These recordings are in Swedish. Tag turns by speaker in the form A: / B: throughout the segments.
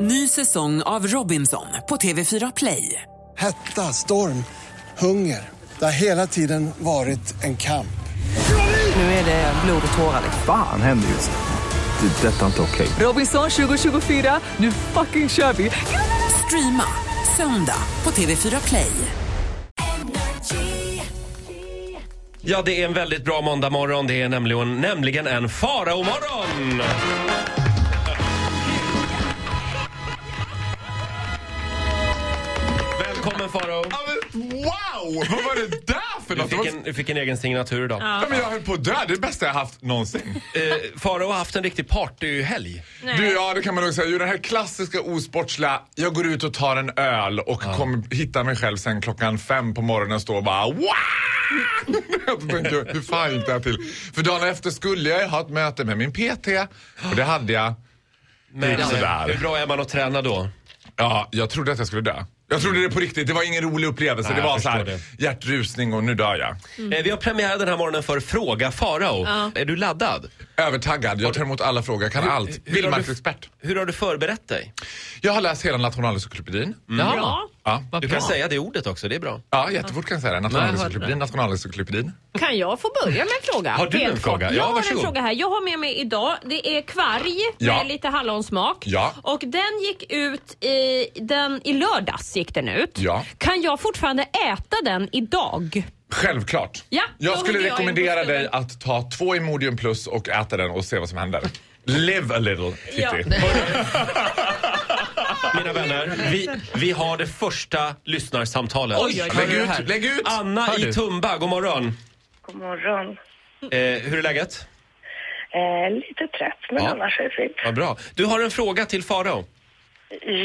A: Ny säsong av Robinson på TV4 Play.
B: Hetta, storm, hunger. Det har hela tiden varit en kamp.
A: Nu är det blod och tårar.
C: Fan händer just nu. Det. är Detta är inte okej.
A: Robinson 2024, nu fucking kör vi! Streama söndag på TV4 Play.
D: Ja, det är en väldigt bra måndagmorgon. Det är nämligen, nämligen en faraomorgon! Välkommen farao!
E: Ja, men Wow! Vad var det där för
D: Du
E: något? Det
D: fick
E: var-
D: en, du fick en egen signatur idag.
E: Ja, men jag höll på att dö. Det är det bästa jag haft någonsin.
D: Eh, farao har haft en riktig partyhelg.
E: Du, ja, det kan man nog säga. Jo, den här klassiska osportsliga, jag går ut och tar en öl och kommer hitta mig själv sen klockan fem på morgonen och står och bara wow! Jag tänker, hur fan gick det här till? För dagen efter skulle jag ju ha ett möte med min PT och det hade jag.
D: Men
E: Det är sådär.
D: eh, hur bra är man att träna då?
E: Ja, jag trodde att jag skulle dö. Jag trodde det på riktigt. Det var ingen rolig upplevelse.
D: Nej,
E: det
D: jag
E: var så
D: förstår
E: här, hjärtrusning och nu dör jag.
D: Eh, vi har premiär den här morgonen för Fråga farao. Är du laddad?
E: Övertaggad. Jag tar emot alla frågor. Jag kan allt.
D: hur har du-
E: Vildmarksexpert.
D: Hur har du förberett dig?
E: Jag har läst hela Nationalencyklopedin.
D: Mm. Bra.
E: Ja.
D: Du kan säga det ordet också, det är bra.
E: ja, jättefort kan jag säga det. Nationalencyklopedin, Nationalencyklopedin.
F: Kan jag få börja med en fråga?
D: Har du en
F: kort.
D: fråga? Ja,
F: Jag har en
D: varsågod.
F: fråga här. Jag har med mig idag, det är kvarg
E: Ja.
F: med lite hallonsmak.
E: Ja.
F: Och den gick ut i, den, i lördags gick den ut.
E: Ja.
F: Kan jag fortfarande äta den idag?
E: Självklart.
F: Ja,
E: jag
F: då
E: skulle
F: hugger jag
E: rekommendera
F: in på
E: dig att ta två Imodium plus och äta den och se vad som händer. Live a little, Kitty.
F: Ja.
D: Mina vänner, vi, vi har det första lyssnarsamtalet.
E: Lägg ut, lägg ut!
D: Anna
E: Hör
D: i
E: du?
D: Tumba, god morgon.
G: God morgon.
D: Eh, hur är läget?
G: Eh, lite trött, men
D: Ja.
G: annars är det fint.
D: Vad bra. Du har en fråga till Farao.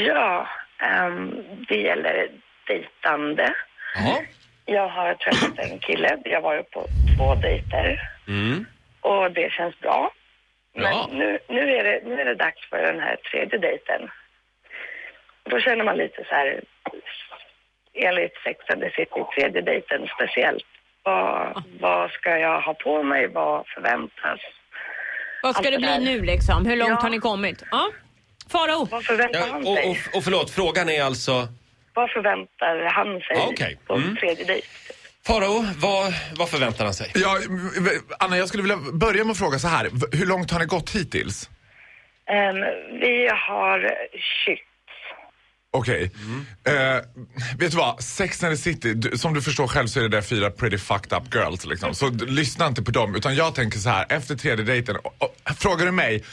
G: Ja, ehm, det gäller dejtande.
D: Ja.
G: Jag har träffat en kille. Jag var ju på två dejter
D: Mm.
G: och det känns bra. Men
D: Bra.
G: nu, nu, är det, nu är det dags för den här tredje dejten. Då känner man lite så här, enligt Sex and the City, tredje dejten speciellt. Vad, vad ska jag ha på mig? Vad förväntas?
F: Vad ska
G: Allt
F: det
G: det
F: bli
G: där.
F: nu liksom? Hur långt
G: Ja.
F: har ni kommit? Ja. Farao,
G: Vad förväntar
D: Ja,
G: han
D: och,
G: sig?
D: och, och förlåt, frågan är alltså...
G: Vad förväntar han sig
D: Ja, okej.
G: på
D: Mm.
G: tredje dejt?
D: Farao, vad, vad förväntar han sig?
E: Ja, v- Anna, jag skulle vilja börja med att fråga så här. V- Hur långt har ni gått hittills?
G: Ehm, vi har kyss.
E: Okej. Eh, vet du vad? Sex and the City, du, som du förstår själv så är det där fyra pretty fucked up girls liksom. Så d- lyssna inte på dem. Utan jag tänker så här, efter tredje dejten, o- o- frågar du mig,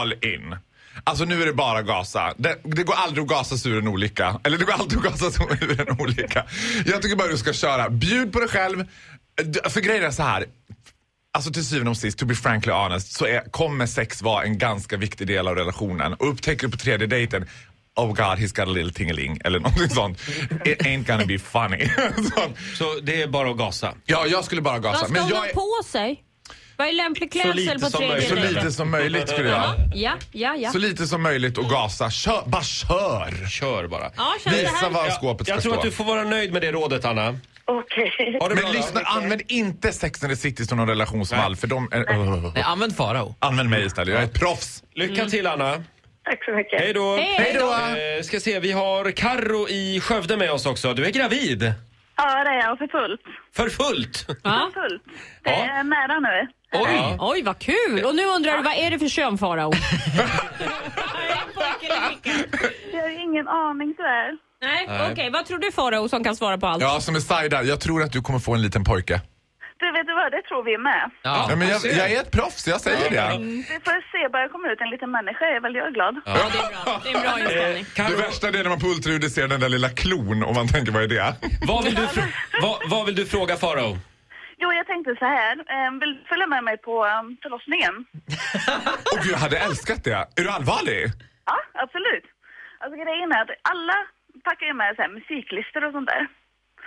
E: all in. Alltså nu är det bara gasa. Det, det går aldrig att gasa sig ur en olycka. Eller det går alltid att gasa sig ur en olycka. Jag tycker bara du ska köra. Bjud på dig själv. D- För grejen är så här, Alltså till syvende och sist, to be frankly honest, så är, kommer sex vara en ganska viktig del av relationen. Och upptäcker du på tredje dejten Oh god, he's got a little tingeling eller någonting sånt. It ain't gonna be funny. sånt.
D: Så det är bara att gasa.
E: Ja, jag skulle bara
F: vad
E: gasa.
F: ska
E: Men
F: hon ha
E: jag är
F: på sig? Vad är lämplig
D: lite
F: klädsel på
D: som
F: tredje
D: möjligt.
E: så
D: dig?
F: dejten?
E: lite som möjligt skulle jag.
F: Ja, ja, ja.
E: Så lite som möjligt och gasa. Kör, bara kör!
D: Kör bara.
F: ja känns det
E: Visa
F: här?
E: var
D: Jag,
E: skåpet ska
D: jag tror att
E: stå.
D: du får vara nöjd med det rådet, Anna.
G: Okej.
D: Ha det bra
E: Men
D: då.
E: lyssna, använd inte Sex and the City som någon relationsmall för de är...
H: Nej, använd Farao.
E: Använd mig istället, jag är ett proffs.
D: Lycka till, Anna.
G: Tack så mycket.
D: Hej då.
F: Hej. Hej
E: då.
D: Eh, ska se, vi har Karro i Skövde med oss också. Du är gravid.
I: Ja, det är jag för fullt.
D: För fullt.
F: Ja.
I: För fullt. Det
D: Ja.
I: är nära nu.
D: Oj.
F: Oj, vad kul! Och nu undrar du, vad är det för kön Farao? liksom.
I: Jag har ingen aning tyvärr.
F: Nej, okej. Vad tror du Farao som kan svara på allt?
E: Ja, som är Saida, jag tror att du kommer få en liten pojke.
I: Du, vet du vad? Det tror vi med.
E: Ja, men jag,
D: ser.
E: jag är ett proffs, jag säger det.
I: Vi får se, bara jag kommer ut en liten människa är väl jag glad.
F: Ja, det är bra. Det är en bra inställning.
E: Det
D: Karro,
E: värsta det är när man på ultraljudet ser den där lilla klon och man tänker vad är det?
D: vad, vill du fr- vad, vad vill du fråga Farao?
I: Jo, jag tänkte så här. Eh, vill du följa med mig på eh, förlossningen?
E: Och gud, jag hade älskat det. Är du allvarlig?
I: Ja, absolut. Alltså grejen är att alla packar ju med så här, musiklistor och sånt där.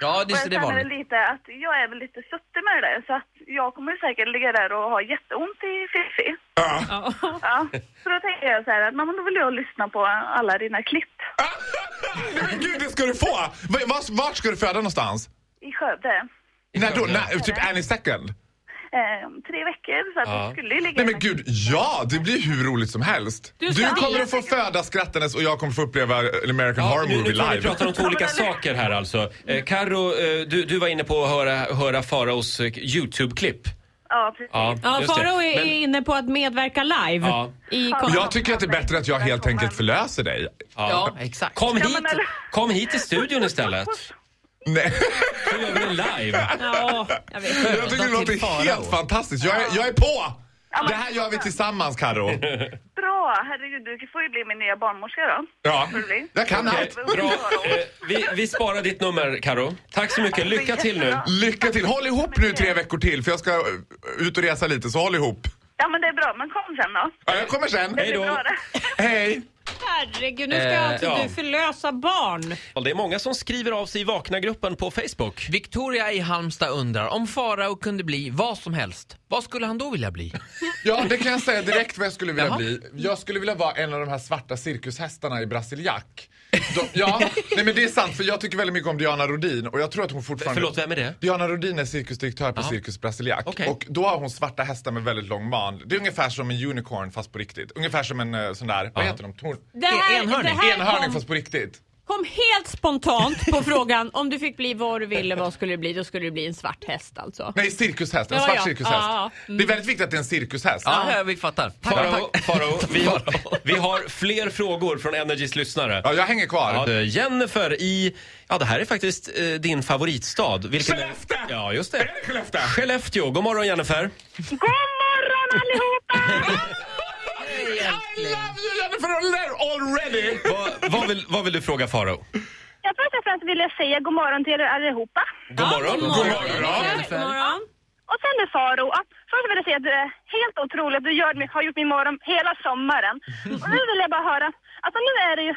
H: Ja, det,
I: Och
H: så
I: jag
H: det är
I: känner
H: vanligt.
I: väl lite att jag är väl lite suttig med det där, så att jag kommer säkert ligga där och ha jätteont i fiffi.
F: Ja.
I: Ja, så då tänker jag så här att "Nej, men då vill jag lyssna på alla dina klipp
E: Nej, Men gud, det ska du få! Va- Vart vart ska du föda någonstans?
I: i Skövde.
E: När då? När, typ any second?
I: eh, om tre veckor. Så att
D: Ja.
I: vi skulle ju ligga
E: Nej men gud, ja! Det blir hur roligt som helst. Du, kommer att få föda skrattandes och jag kommer få uppleva eh, American
D: Ja,
E: Horror
D: nu,
E: Movie
D: nu tror jag vi
E: live.
D: pratar om två olika saker här alltså. Eh, Karo, eh, du, du var inne på att höra, höra Faraos eh, YouTube-klipp.
I: Ja, precis.
F: Ja,
D: just det.
F: Farao är
D: Men-
F: inne på att medverka live.
D: Ja.
F: I
I: Ja.
F: kon-
E: Jag tycker att det är bättre att jag helt enkelt förlöser dig.
H: Ja, exakt.
D: Kom
I: Ja,
D: hit,
I: men eller-
D: kom hit till studion istället.
E: Nej.
D: Då gör vi det live.
F: ja, jag vet.
E: Jag tycker det
H: till
E: låter
H: Farao.
E: helt fantastiskt. Jag är, jag är på! Det här gör vi tillsammans Karo.
I: Bra! Herregud, du får ju bli min nya barnmorska då.
E: Ja,
I: Får du bli.
E: jag kan allt.
D: Bra. Eh, vi, vi sparar ditt nummer, Karo. Tack så mycket. Lycka till nu.
E: Lycka till! Håll ihop nu tre veckor till för jag ska eh, ut och resa lite, så håll ihop.
I: Ja, men det är bra. Men kom sen då.
E: Ja, jag kommer sen.
I: Det
D: Hej då.
I: är bra det.
E: Hej!
F: Herregud, nu ska
H: Eh,
F: alltså
D: ja.
F: du förlösa barn.
D: Ja, Det är många som skriver av sig i Vakna-gruppen på Facebook.
H: Victoria i Halmstad undrar om Farao kunde bli vad som helst, vad skulle han då vilja bli?
E: Ja, det kan jag säga direkt vad jag skulle vilja
H: Jaha.
E: bli. Jag skulle vilja vara en av de här svarta cirkushästarna i Brasiliak. De, ja, nej men det är sant för jag tycker väldigt mycket om Diana Rodin och jag tror att hon fortfarande...
D: Förlåt, vem är det?
E: Diana Rodin är cirkusdirektör på Cirkus Brasiliak.
D: Okej.
E: Och då har hon svarta hästar med väldigt lång man. Det är ungefär som en unicorn fast på riktigt. Ungefär som en eh, sån där, vad heter de? Torn...
F: Det här,
H: Enhörning.
F: Det här
E: Enhörning
F: kom,
E: fast på riktigt.
F: kom helt spontant på frågan om du fick bli vad du ville, vad skulle du bli? Då skulle du bli en svart häst alltså.
E: Nej, cirkushäst. En
F: Ja,
E: svart
F: ja.
E: cirkushäst.
F: Ja, ja. Mm.
E: Det är väldigt viktigt att det är en cirkushäst.
H: Ja, ja vi fattar. Tack,
D: Farao,
H: tack.
D: Farao, vi, har- vi har fler frågor från Energys lyssnare.
E: Ja, jag hänger kvar.
D: Ja, eh, Jennifer i, ja det här är faktiskt eh, din favoritstad. Vilken är-
E: Skellefteå!
D: Ja, just
E: Är
D: det.
E: det Skellefteå?
D: Skellefteå, god morgon Jennifer.
I: God morgon allihopa!
E: I love you Jennifer already!
D: Vad, vad, vill, vad vill du fråga Farao?
I: Jag först och främst vill jag säga god morgon till er allihopa.
D: God morgon.
F: God morgon. God morgon.
I: Och sen med Faro, att först vill jag säga att det är helt otroligt att du gör, min- har gjort min morgon hela sommaren. Och nu vill jag bara höra, alltså nu är det ju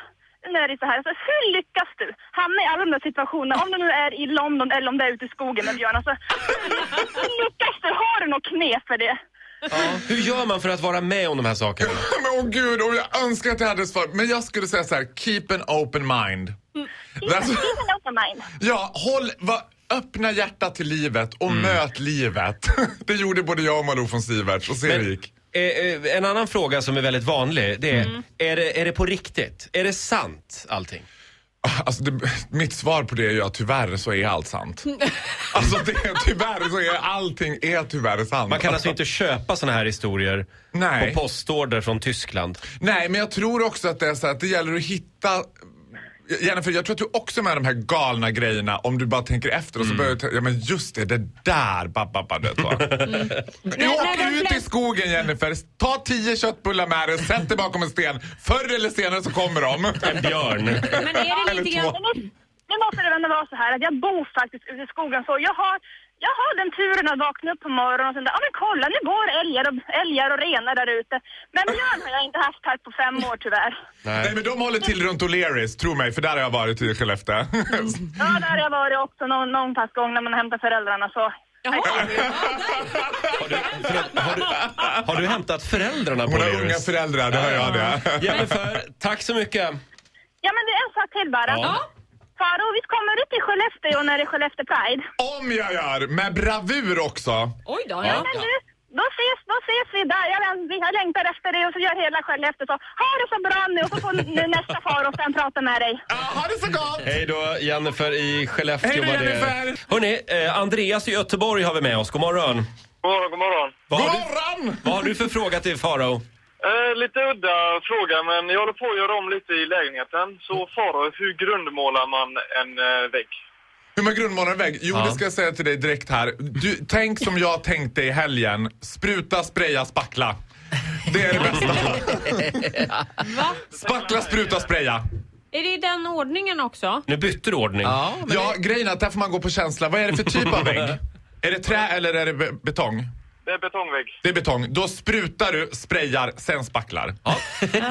I: nu är det så här, alltså, hur lyckas du hamna i alla de där situationerna, om du nu är i London eller om du är ute i skogen med Björn, alltså, hur lyckas du? Har du något knep för det?
D: Ja, hur gör man för att vara med om de här sakerna?
E: Men åh gud, och jag önskar att jag hade ett svar. Men jag skulle säga så här, keep an open mind. That's-
I: Keep an open mind.
E: ja, håll, va, öppna hjärtat till livet och
D: Mm.
E: möt livet. det gjorde både jag och Malou von Sieverts och se hur det
D: Men,
E: gick.
D: eh, eh, en annan fråga som är väldigt vanlig det är,
I: Mm.
D: är, det, är det på riktigt? Är det sant allting?
E: Alltså, det, mitt svar på det är ju att tyvärr så är allt sant. alltså det, tyvärr så är allting är tyvärr sant.
D: Man kan alltså inte köpa såna här historier
E: Nej.
D: på postorder från Tyskland.
E: Nej, men jag tror också att det är så här att det gäller att hitta Jennifer, jag tror att du också är med de här galna grejerna om du bara tänker efter
F: Mm.
E: och så börjar du tänka, ja men just det, det där, babba, babba, du vet vad. Du
F: Nej,
E: åker
F: nej, de
E: ut i
F: flest-
E: skogen Jennifer, ta tio köttbullar med dig, sätt dig bakom en sten. Förr eller senare så kommer de.
D: En björn.
F: Men är det lite
E: Eller två.
F: grann...
I: Men nu- Nu måste det ändå vara så här att jag bor faktiskt ute i skogen så jag har, jag har den turen att vakna upp på morgonen och sen där, ja men kolla nu går älgar och, älgar och renar där ute. Men björn har jag inte haft här på fem år tyvärr.
E: Nej men de håller till runt O'Learys, tro mig, för där har jag varit i Skellefteå.
F: Mm.
I: Ja, där har jag varit också någon, någon pass gång när man hämtar föräldrarna så.
F: Jaha.
D: Har du, förlåt, har, du, har du hämtat föräldrarna på
E: Hon har unga
D: Lyris?
E: föräldrar, det har jag det.
D: Jennifer, tack så mycket.
I: Ja men det är en sak till bara.
D: Ja.
I: Faro, visst kommer du till Skellefteå när det är Skellefteå Pride?
E: Om jag gör, med bravur också.
F: Oj då.
I: Ja.
F: Ja.
I: Men du, då ses, då ses vi där. Jag, läng- jag längtar efter dig och så gör hela Skellefteå så. Ha det så bra nu och så får nu nästa Faro sen prata med dig.
E: Ja, ha det så gott!
D: Hej då, Jennifer i Skellefteå.
E: Hej då,
D: var det.
E: Jennifer.
D: Hörrni, eh, Andreas i Göteborg har vi med oss. God morgon.
J: God morgon, god morgon.
D: Vad
E: God
D: har, du,
E: morgon!
D: vad har du för fråga till Farao?
J: Eh, lite udda fråga, men jag håller på att göra om lite i lägenheten. Så
D: Mm.
J: Farao, hur grundmålar man en eh, vägg?
E: Hur man grundmålar en vägg? Jo, det ska jag säga till dig direkt här. Du, tänk som jag tänkte i helgen. Spruta, spraya, spackla. Det är det bästa.
F: Va?
E: Spackla, spruta, spraya.
F: Är det i den ordningen också?
D: Nu bytte du ordning.
H: Ja, men
E: Ja, grejen är att där får man gå på känsla. Vad är det för typ av vägg? Är det trä eller är det be- betong?
J: Det är betongvägg.
E: Det är betong. Då sprutar du, sprayar, sen spacklar.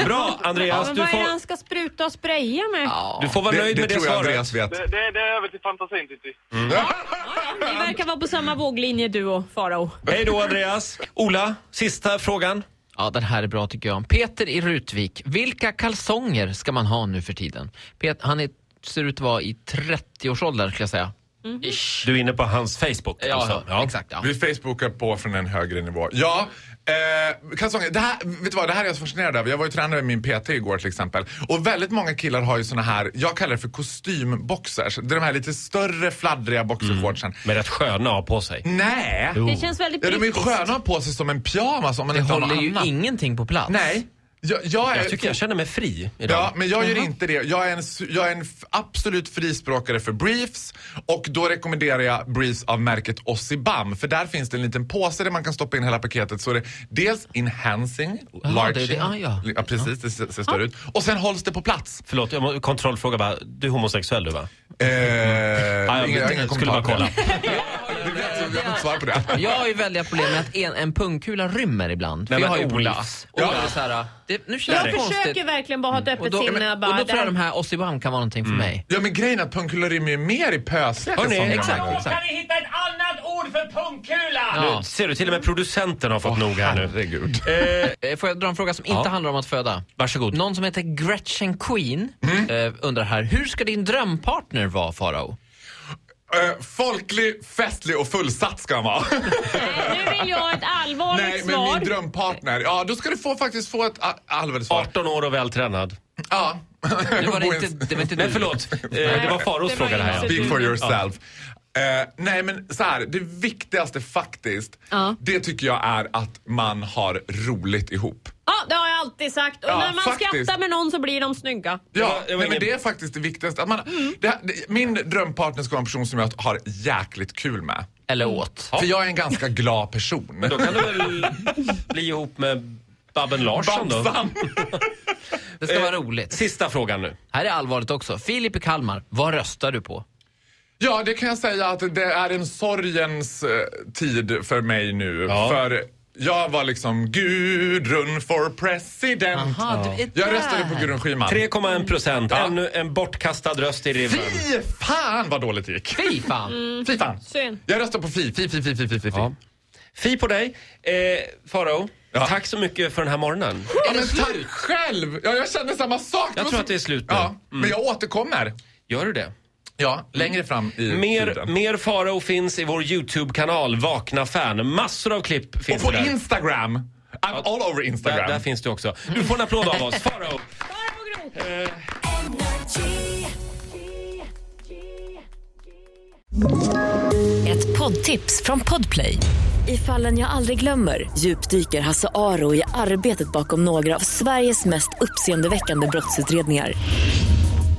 D: Bra,
F: Ja,
D: Andreas.
F: men
D: Du
F: vad är det
D: får,
F: han ska spruta och spraya med?
D: du får vara
E: Det,
D: nöjd
E: det
D: med det
E: tror jag Andreas
D: svaret. Mm.
E: vet.
J: Det, det, det är över till fantasin, Titti.
F: Ni verkar vara på samma våglinje du och Farao.
D: Hej då, Andreas. Ola, sista frågan.
H: Ja, den här är bra tycker jag. Peter i Rutvik. Vilka kalsonger ska man ha nu för tiden? Pet, han är, ser ut att vara i 30-årsåldern skulle jag säga.
D: Du är inne på hans Facebook
H: Ja,
D: alltså?
H: ja, exakt, ja.
E: Vi facebookar på från en högre nivå. Ja, eh, kalsonger. Det här, vet du vad, det här är jag så fascinerad över. Jag var ju tränare med min PT igår till exempel. Och väldigt många killar har ju såna här, jag kallar det för kostymboxers. Det är de här lite större fladdriga boxershortsen.
H: Mm.
D: Med rätt sköna att ha på
E: Mm.
D: sig.
E: Nej!
D: Jo.
F: Det känns väldigt
E: Ja, de är ju
F: brittiskt.
E: sköna att ha på sig som en pyjamas om man
H: Det
E: inte har något
H: håller ju
E: annat.
H: ingenting på plats.
E: Nej. Jag, jag, är,
D: Jag tycker jag känner mig fri idag.
E: Ja, men jag gör inte det. Jag är en, s- jag är en f- absolut frispråkare för briefs och då rekommenderar jag briefs av märket Ossibam för där finns det en liten påse där man kan stoppa in hela paketet så är det dels enhancing,
H: Jaha,
E: larging,
H: det är det. Ah, ja. Ah.
E: precis, det ser, ser större ut och sen hålls det på plats.
D: Förlåt, jag må, kontrollfråga bara. Du är homosexuell du va?
H: Ah,
E: Eh,
D: Ja, jag
E: inga-
D: vet inte.
E: inga
D: skulle bara
E: kommentarer
D: kolla.
E: på det. Du vet, jag kan inte svara på det.
H: Jag har ju väldiga problem med att en, en pungkula rymmer ibland. För
D: Nej,
H: jag
D: men
H: har ju
D: Ola.
H: briefs. Och då är det så här, det, nu känns det
F: Jag försöker
H: konstigt.
F: verkligen bara ha ett öppet
H: Och då,
F: sinne.
H: och
F: och bara,
H: då tror jag de
F: det
H: här Ossibam kan vara någonting för mig.
E: Ja men grejen är att pungkulor rymmer ju mer i pösiga
D: Hörrni,
E: kalsonger än
H: exakt,
E: vad man-
H: exakt.
K: vi hitta ett annat ord för pungkula?
H: Ja.
D: Nu, ser du, till och med producenten har fått nog här nu.
E: Herregud.
H: Eh, Får jag dra en fråga som inte
D: Ja.
H: handlar om att föda?
D: Varsågod.
H: Någon som heter Gretchen Queen eh, undrar här, hur ska din drömpartner vara Farao?
E: Eh, folklig, festlig och fullsatt ska han vara.
F: här... Nu vill jag ha ett allvarligt
E: Nej, men
F: svar.
E: min drömpartner. Ja, då ska du få, faktiskt få ett a- allvarligt svar.
D: 18 år och vältränad.
E: Ja.
H: Det var det inte, det var inte
D: Men
H: du.
D: förlåt, eh, det var Faros
F: Det var
D: fråga det här.
F: inte
D: ja.
E: Speak for yourself. Eh, nej men så här, det viktigaste faktiskt,
F: Ja.
E: det tycker jag är att man har roligt ihop.
F: Ja, det har jag alltid sagt. Och
E: Ja,
F: när man
E: faktiskt.
F: skrattar med någon så blir de snygga.
E: Ja,
D: var- det var
E: nej, men
D: ingen-
E: det är faktiskt det viktigaste. Att man, det, här- det, min drömpartner ska vara en person som jag har jäkligt kul med.
H: Eller åt.
E: För jag är en ganska glad person.
D: Då kan du väl bli ihop med Babben Larsson då?
E: Babsan!
H: Det ska vara
D: Eh,
H: roligt.
D: Sista frågan nu.
H: Här är allvarligt också. Filip i Kalmar, vad röstar du på?
E: Ja, det kan jag säga att det är en sorgens eh, tid för mig nu.
D: Ja.
E: För jag var liksom Gudrun for president.
H: Aha, du är
E: Jag
H: där.
E: röstade på Gudrun Schyman.
D: 3,1 procent. Ännu en bortkastad röst i rivern.
E: Fy fan vad dåligt det gick.
H: Fy fan!
E: Fy fan.
F: Synd.
E: Jag röstade på Fi. Fi, fi, fi, fi, fi, fi.
D: Ja.
E: Ja.
D: Fi på dig. Eh, Farao,
E: Ja.
D: tack så mycket för den här morgonen.
E: men tack själv! Ja, jag känner samma sak.
D: Jag
E: var
D: tror
E: så-
D: att det är slut nu. Mm.
E: Ja, men jag återkommer.
D: Gör du det?
E: Ja, längre fram i
D: Mer,
E: tiden.
D: mer Farao finns i vår YouTube-kanal Vakna fan. Massor av klipp
E: Och
D: finns
E: på
D: där.
E: Instagram. I'm all over Instagram.
D: Där, där finns du också. Du får en applåd av oss. Farao!
L: Ett poddtips från Podplay. I fallen jag aldrig glömmer djupdyker Hasse Aro i arbetet bakom några av Sveriges mest uppseendeväckande brottsutredningar.